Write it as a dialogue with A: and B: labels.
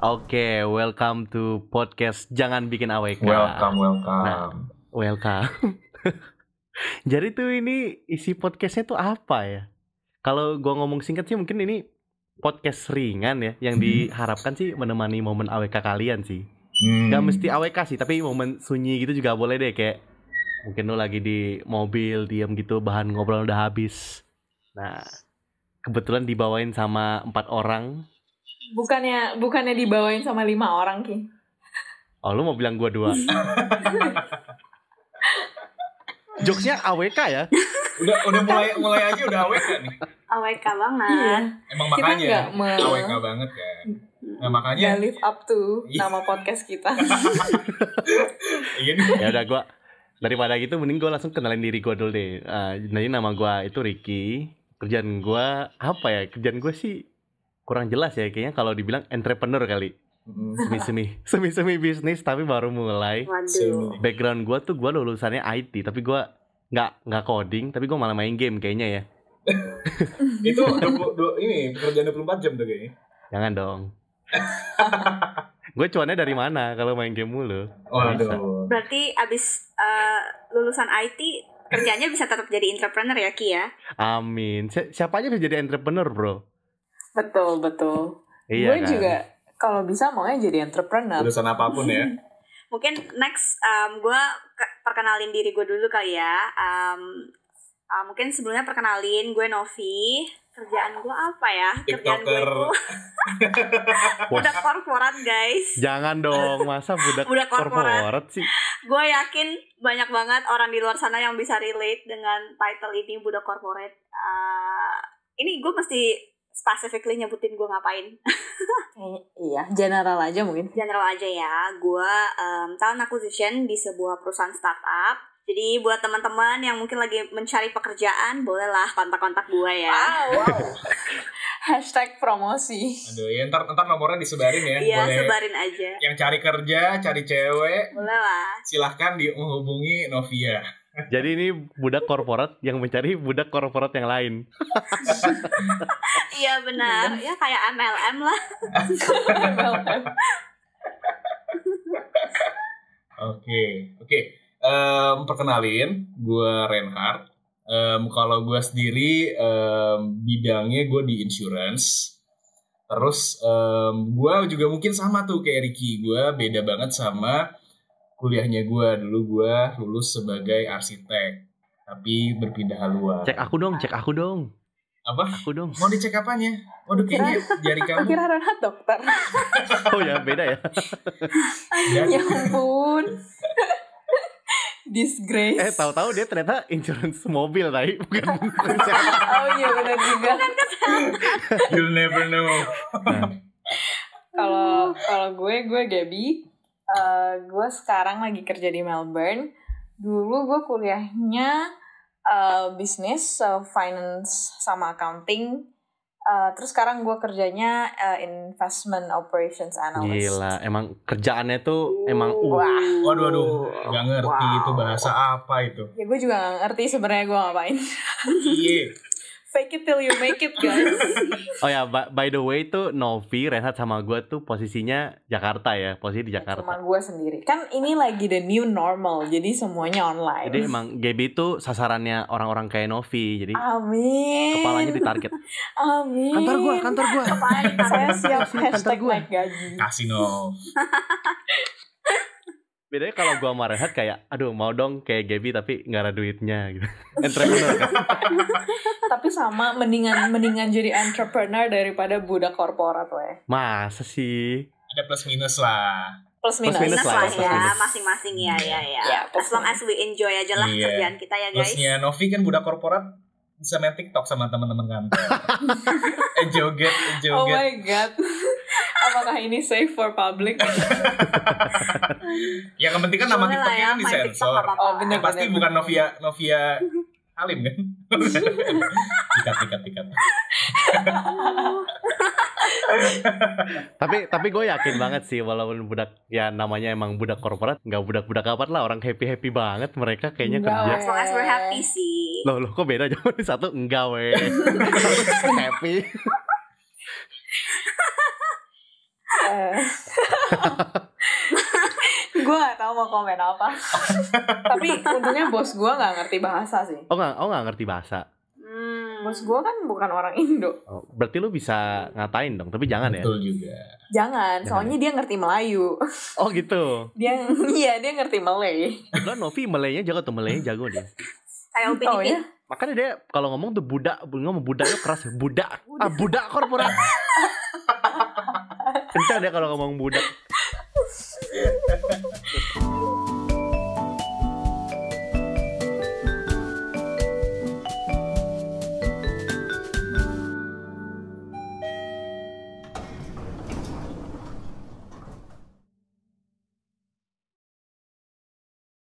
A: Oke, welcome to podcast Jangan Bikin AWK.
B: Welcome, welcome.
A: Nah. Welcome. Jadi tuh ini isi podcastnya tuh apa ya? Kalau gua ngomong singkat sih mungkin ini podcast ringan ya, yang
B: Hmm.
A: diharapkan sih menemani momen AWK kalian sih.
B: Hmm.
A: Gak mesti AWK sih, tapi momen sunyi gitu juga boleh deh kayak mungkin lu lagi di mobil diam gitu bahan ngobrol udah habis. Nah, kebetulan dibawain sama empat orang.
C: Bukannya bukannya dibawain sama lima orang ki?
A: Oh, lu mau bilang gua dua? Jokesnya AWK ya?
B: Udah, udah mulai mulai aja udah awet nih.
D: AWK banget.
C: Iya.
B: Emang
C: Kita
B: makanya
C: nggak me-
B: AWK banget kan. Nah makanya
A: Iya.
C: Nggak Ah, live up to nama podcast kita.
B: iya nih.
A: Ya udah gua daripada gitu mending gua langsung kenalin diri gua dulu deh. Eh, jadi nama gua itu Ricky. Kerjaan gua apa ya? Kerjaan gua sih kurang jelas ya kayaknya kalau dibilang entrepreneur kali.
B: Hmm.
A: Semi-semi semi-semi bisnis tapi baru mulai.
D: Waduh.
A: background gua tuh gua lulusannya IT tapi gua nggak nggak coding tapi gua malah main game kayaknya ya
B: Itu 20, du- ini pekerjaan 24 jam tuh kayaknya.
A: jangan dong gue cuannya dari mana kalau main game mulu
B: Oh,
A: Bisa.
B: aduh.
D: Berarti abis eh, lulusan IT kerjanya bisa tetap jadi entrepreneur ya Ki ya?
A: amin Si- siapa aja bisa jadi entrepreneur bro
C: betul betul.
A: iya
C: Gue
A: kan?
C: juga kalau bisa maunya jadi entrepreneur.
B: Urusan apapun ya.
D: Mungkin next gue perkenalin diri gue dulu kali ya. Em, eh, mungkin sebelumnya perkenalin gue Novi. Kerjaan gue apa ya? Kerjaan gue
B: TikToker.
D: itu budak korporat guys.
A: jangan dong masa budak,
D: Budak korporat.
A: korporat sih
D: Gue yakin banyak banget orang di luar sana yang bisa relate dengan title ini budak korporat. Eh, ini gue mesti specifically nyebutin gue ngapain.
C: Kayaknya- Iya, general aja mungkin.
D: general aja ya. Gue tahun acquisition di sebuah perusahaan startup. Jadi buat teman-teman yang mungkin lagi mencari pekerjaan, bolehlah kontak-kontak gue ya.
C: Hashtag promosi.
B: Aduh, ya ntar, ntar nomornya disebarin ya.
D: Iya,
B: Boleh.
D: sebarin aja.
B: Yang cari kerja, cari cewek,
D: Boleh lah.
B: silahkan
D: silahkan
B: dihubungi Novia.
A: jadi ini budak korporat yang mencari budak korporat yang lain
D: Iya benar. Ya kayak MLM lah.
B: Oke, oke. Em, perkenalin, gue Reinhard. Em, kalau gue sendiri em, bidangnya gue di insurance. Terus gue juga mungkin sama tuh kayak Ricky. Gue beda banget sama kuliahnya gue. Dulu gue lulus sebagai arsitek, tapi berpindah haluan.
A: cek aku dong cek aku dong
B: Apa?
A: aku dong
B: Mau dicek apanya? Waduh kayaknya jari kamu.
C: Kira Renat dokter.
A: oh ya beda ya
B: jari-
C: ya ampun. Disgrace.
A: eh tahu-tahu dia ternyata insurance mobil tadi bukan bukan-
C: Oh iya benar juga.
B: You'll never know.
A: Oh.
C: Kalau kalau gue gue Gaby, Eh, gue sekarang lagi kerja di Melbourne. Dulu gue kuliahnya eh, bisnis, eh, finance sama accounting. Eh, terus sekarang gue kerjanya eh, investment operations analyst.
A: Gila, emang kerjaannya tuh emang uh,
C: Wah.
B: Waduh, waduh. Gak ngerti
C: Wow.
B: itu bahasa apa itu.
C: Ya gue juga gak ngerti sebenarnya gue ngapain.
B: Iya.
C: Fake it till you make it guys.
A: Oh ya, by, by the way tuh Novi, Renhat sama gua tuh posisinya Jakarta ya, posisi di
C: Cuma
A: Jakarta.
C: gue sendiri. Kan ini lagi the new normal, jadi semuanya online.
A: Jadi emang Gaby tuh sasarannya orang-orang kayak Novi, jadi
C: Amin.
A: kepalanya ditarget.
C: Amin.
A: Kantor gua, kantor gua.
D: Apaan?
C: Saya siap
A: Kantor
C: hashtag
A: gua.
C: naik gaji.
B: Nah. Kasino.
A: Bedanya kalau gua sama Renhat kayak, aduh mau dong kayak Gaby tapi nggak ada duitnya gitu. Entrepreneur kan?
C: Tapi sama mendingan mendingan jadi entrepreneur daripada budak korporat weh.
A: Masa sih?
B: ada plus minus lah.
C: Plus
A: Plus
C: minus.
D: Minus
A: Minus lah,
D: lah ya,
A: minus.
D: masing-masing ya, ya, ya.
C: Ya,
D: As long as we enjoy aja lah
B: Iya.
D: kerjaan kita ya guys.
B: Plusnya Novi kan budak korporat bisa main TikTok sama teman-teman kantor. eh joget, eh,
C: Oh
B: joget.
C: my god. Apakah ini safe for public?
B: yang penting kan nama
D: Boleh lah
B: TikToknya
D: ya,
B: kan
D: main TikTok
B: disensor.
D: apa-apa.
C: Oh
B: Eh,
C: bener
B: pasti
C: bener.
B: bukan Novia Novia Halim kan? tikat, tikat, tikat.
A: Tapi tapi gue yakin banget sih walaupun budak ya namanya emang budak korporat, nggak budak-budak apa lah orang happy-happy banget mereka kayaknya
C: Nggak,
A: kerja.
D: As long as we're happy sih.
A: Loh, loh kok beda jawaban satu enggak weh. Satu happy.
C: Eh. gue gak tau mau komen apa. Tapi untungnya bos gue gak ngerti bahasa sih.
A: Oh nggak, oh nggak ngerti bahasa.
D: Hmm.
C: Bos gue kan bukan orang Indo.
A: Oh, berarti lu bisa ngatain dong, tapi jangan ya.
B: Betul juga.
C: Jangan, soalnya dia ngerti Melayu.
A: Oh gitu.
C: Dia iya dia ngerti Malay.
A: Lo Novi Melaynya jago tuh, Melaynya jago dia.
D: Kayak Upin
C: Tau
D: Ipin.
C: ya?
A: Makanya dia kalau ngomong tuh budak, ngomong budak itu keras, budak. Ah, budak korporat. Kencang dia kalau ngomong budak.